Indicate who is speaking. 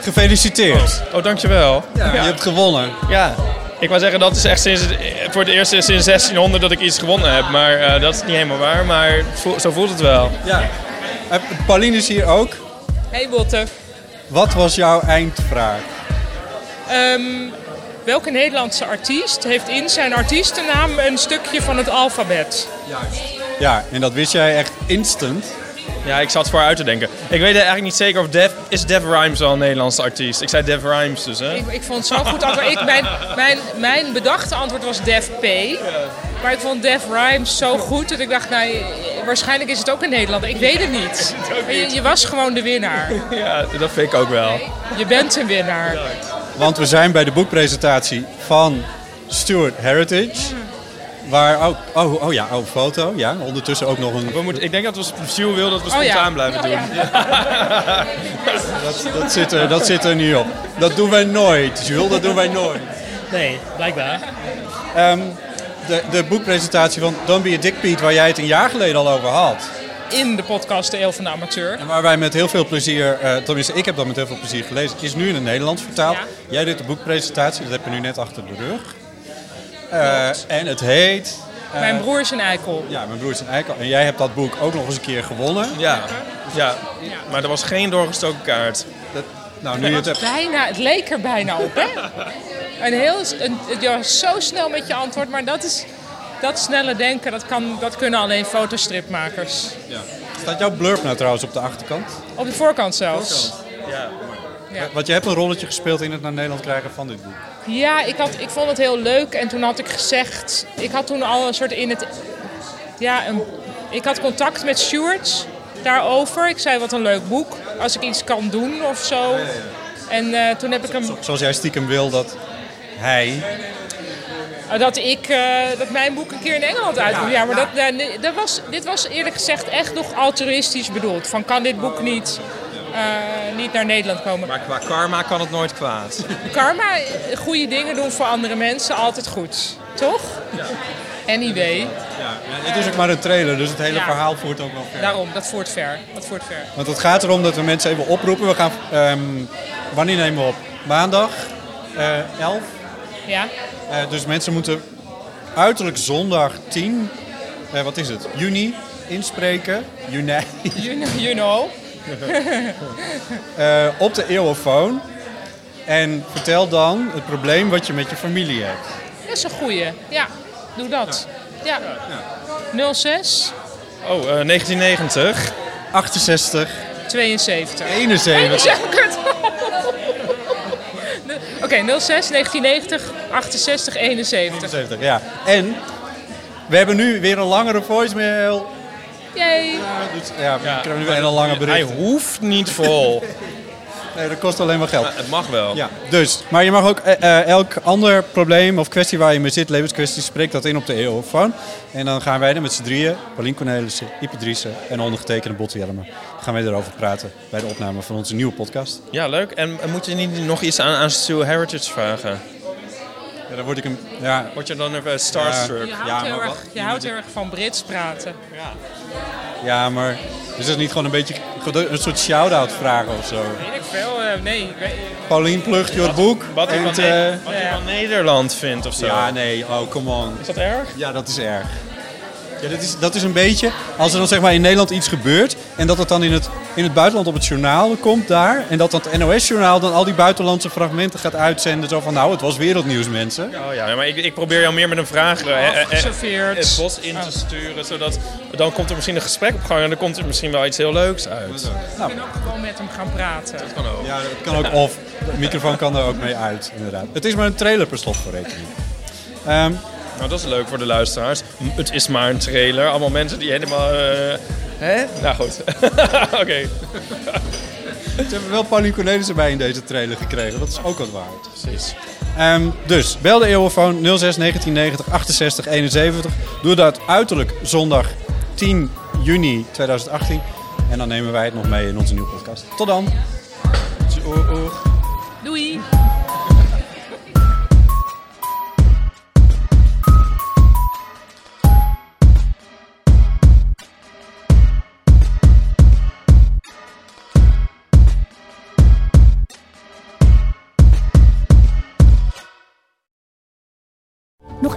Speaker 1: Gefeliciteerd.
Speaker 2: Oh, dankjewel. Ja.
Speaker 1: Je
Speaker 2: ja.
Speaker 1: hebt gewonnen.
Speaker 2: Ik wou zeggen, dat is echt sinds, voor het eerst sinds 1600 dat ik iets gewonnen heb. Maar eh, dat is niet helemaal waar, maar vo- zo voelt het wel.
Speaker 1: Ja. Eh, Pauline is hier ook.
Speaker 3: Hey Botte,
Speaker 1: Wat was jouw eindvraag?
Speaker 3: Ehm, welke Nederlandse artiest heeft in zijn artiestennaam een stukje van het alfabet?
Speaker 1: Ja, en dat wist jij echt instant.
Speaker 2: Ja, ik zat voor uit te denken. Ik weet eigenlijk niet zeker of Def... Is Def Rhymes al een Nederlandse artiest? Ik zei Def Rhymes dus, hè?
Speaker 3: Ik, ik vond het zo goed antwoord. Ik, mijn, mijn, mijn bedachte antwoord was Def P. Maar ik vond Def Rhymes zo goed dat ik dacht, nou, waarschijnlijk is het ook in Nederland. Ik weet het niet. Maar je, je was gewoon de winnaar.
Speaker 2: Ja, dat vind ik ook wel.
Speaker 3: Je bent een winnaar.
Speaker 1: Want we zijn bij de boekpresentatie van Stuart Heritage. Waar ook, oh, oh ja, oh, foto. Ja, ondertussen ook nog een.
Speaker 2: We moeten, ik denk dat we Sjoel wil dat we
Speaker 3: Oh, ja.
Speaker 2: spontaan blijven
Speaker 3: Oh,
Speaker 2: doen.
Speaker 3: ja.
Speaker 1: Dat, dat, zit er, dat zit er niet op. Dat doen wij nooit, Jules, dat doen wij nooit.
Speaker 4: Nee, blijkbaar.
Speaker 1: Ehm, de, de boekpresentatie van Don't Be a Dick Piet, waar jij het een jaar geleden al over had.
Speaker 3: In de podcast De Eeuw van de Amateur.
Speaker 1: En waar wij met heel veel plezier, eh tenminste ik heb dat met heel veel plezier gelezen, is nu in het Nederlands vertaald.
Speaker 3: Ja.
Speaker 1: Jij doet de boekpresentatie, dat heb je nu net achter de rug. Eh, en het heet... eh,
Speaker 3: Mijn broer is een eikel.
Speaker 1: Ja, mijn broer is een eikel. En jij hebt dat boek ook nog eens een keer gewonnen.
Speaker 2: Ja. ja, maar er was geen doorgestoken kaart.
Speaker 1: Dat, nou, nu je het hebt...
Speaker 3: Bijna, het leek er bijna op, hè? Een heel, een, je was zo snel met je antwoord, maar dat is... Dat snelle denken, dat, kan, dat kunnen alleen fotostripmakers.
Speaker 1: Ja. Staat jouw blurb nou trouwens op de achterkant?
Speaker 3: Op de voorkant zelfs.
Speaker 1: Want je hebt een rolletje gespeeld in het naar Nederland krijgen van dit boek.
Speaker 3: Ja, ik, had, ik vond het heel leuk en toen had ik gezegd... Ik had toen al een soort in het... Ja, een, ik had contact met Stuart daarover. Ik zei, wat een leuk boek. Als ik iets kan doen of zo. En eh, toen heb ik hem...
Speaker 1: Zoals jij stiekem wil dat hij...
Speaker 3: Uh, Dat, ik, eh, dat mijn boek een keer in Engeland uitkomt. Ja, maar dat, daar- dat was, dit was eerlijk gezegd echt nog altruïstisch bedoeld. Van kan dit boek niet, eh, niet naar Nederland komen.
Speaker 2: Maar qua karma kan het nooit kwaad.
Speaker 3: Karma, eh, goede dingen doen voor andere mensen, altijd goed. Toch? Anyway,
Speaker 1: Het is ook maar een trailer, dus het hele
Speaker 3: Ja. Nou,
Speaker 1: verhaal voert ook wel verder.
Speaker 3: daarom, dat voert ver. Dat voert ver.
Speaker 1: Want het gaat erom dat we mensen even oproepen. We gaan, ehm, wanneer nemen we op? Maandag eh 11.
Speaker 3: Ja?
Speaker 1: Eh, dus mensen moeten uiterlijk zondag 10, eh, wat is het? Juni inspreken. Juni.
Speaker 3: You know. you know.
Speaker 1: Eh, op de eeuwofoon. En vertel dan het probleem wat je met je familie hebt.
Speaker 3: Dat is een goeie. Ja, doe dat. Ja. 06
Speaker 2: Oh, eh, 1990.
Speaker 1: 68,
Speaker 3: 72.
Speaker 1: 71.
Speaker 3: Ja, kut. Oké, 06, 1990, 68, 71.
Speaker 1: 71, ja. En we hebben nu weer een langere voicemail.
Speaker 3: Yay.
Speaker 1: Ja, dus, ja, we krijgen nu weer een lange
Speaker 2: Hij
Speaker 1: bericht.
Speaker 2: hoeft niet vol.
Speaker 1: Nee, dat kost alleen maar geld.
Speaker 2: Maar het mag wel.
Speaker 1: Ja, dus. Maar je mag ook eh, eh, elk ander probleem of kwestie waar je mee zit, levenskwestie, spreek dat in op de eeuwfoon. En dan gaan wij er met z'n drieën, Paulien Cornelissen, Ipe Driessen en ondergetekende Bot Jellema, gaan wij erover praten bij de opname van onze nieuwe podcast.
Speaker 2: Ja, leuk. En, en moet je niet nog iets aan, aan Stu Heritage vragen?
Speaker 1: Ja, dan word ik hem... Ja,
Speaker 2: Word je dan even starstruck?
Speaker 3: Je
Speaker 1: Ja,
Speaker 3: houdt,
Speaker 1: maar
Speaker 3: heel
Speaker 1: wat-
Speaker 3: erg, je houdt heel erg van Brits praten.
Speaker 1: ja maar... Dus dat is niet gewoon een beetje een soort shout-out vragen of zo.
Speaker 3: Weet ik veel. eh, nee. ik weet-
Speaker 1: Paulien, plucht je boek.
Speaker 2: Wat hij
Speaker 1: en,
Speaker 2: van,
Speaker 1: eh,
Speaker 2: Ne- wat hij van Nederland vindt of zo.
Speaker 1: Ja, nee, oh, come on.
Speaker 2: Is dat erg?
Speaker 1: Ja, dat is erg. Ja, dat, is, dat is een beetje als er dan zeg maar in Nederland iets gebeurt en dat het dan in het, in het buitenland op het journaal komt daar. En dat dan het NOS-journaal dan al die buitenlandse fragmenten gaat uitzenden. Zo van nou, het was wereldnieuws mensen.
Speaker 2: Oh ja, maar ik, ik probeer jou meer met een vraag eh, eh, eh,
Speaker 3: Afgeserveerd. Oh.
Speaker 2: het bos in te sturen. Zodat dan komt er misschien een gesprek op gang en dan komt er misschien wel iets heel leuks uit. Nou,
Speaker 1: Nou,
Speaker 3: Ik ben ook gewoon met hem gaan praten.
Speaker 1: ja, het kan ook of. De microfoon kan er ook mee uit, inderdaad. Het is maar een trailer per slot voor rekening. Ehm,
Speaker 2: Nou, dat is leuk voor de luisteraars. M- Het is maar een trailer. Allemaal mensen die helemaal... eh, hè? Nou goed. Oké.
Speaker 1: Ze hebben wel Pauline Cornelissen bij in deze trailer gekregen. Dat is ook wat waard. Precies. dus, bel de Eeuwenfoon 06 1990 68 71. Doe dat uiterlijk zondag 10 juni 2018. En dan nemen wij het nog mee in onze nieuwe podcast. Tot dan.
Speaker 3: Doei!
Speaker 5: Nog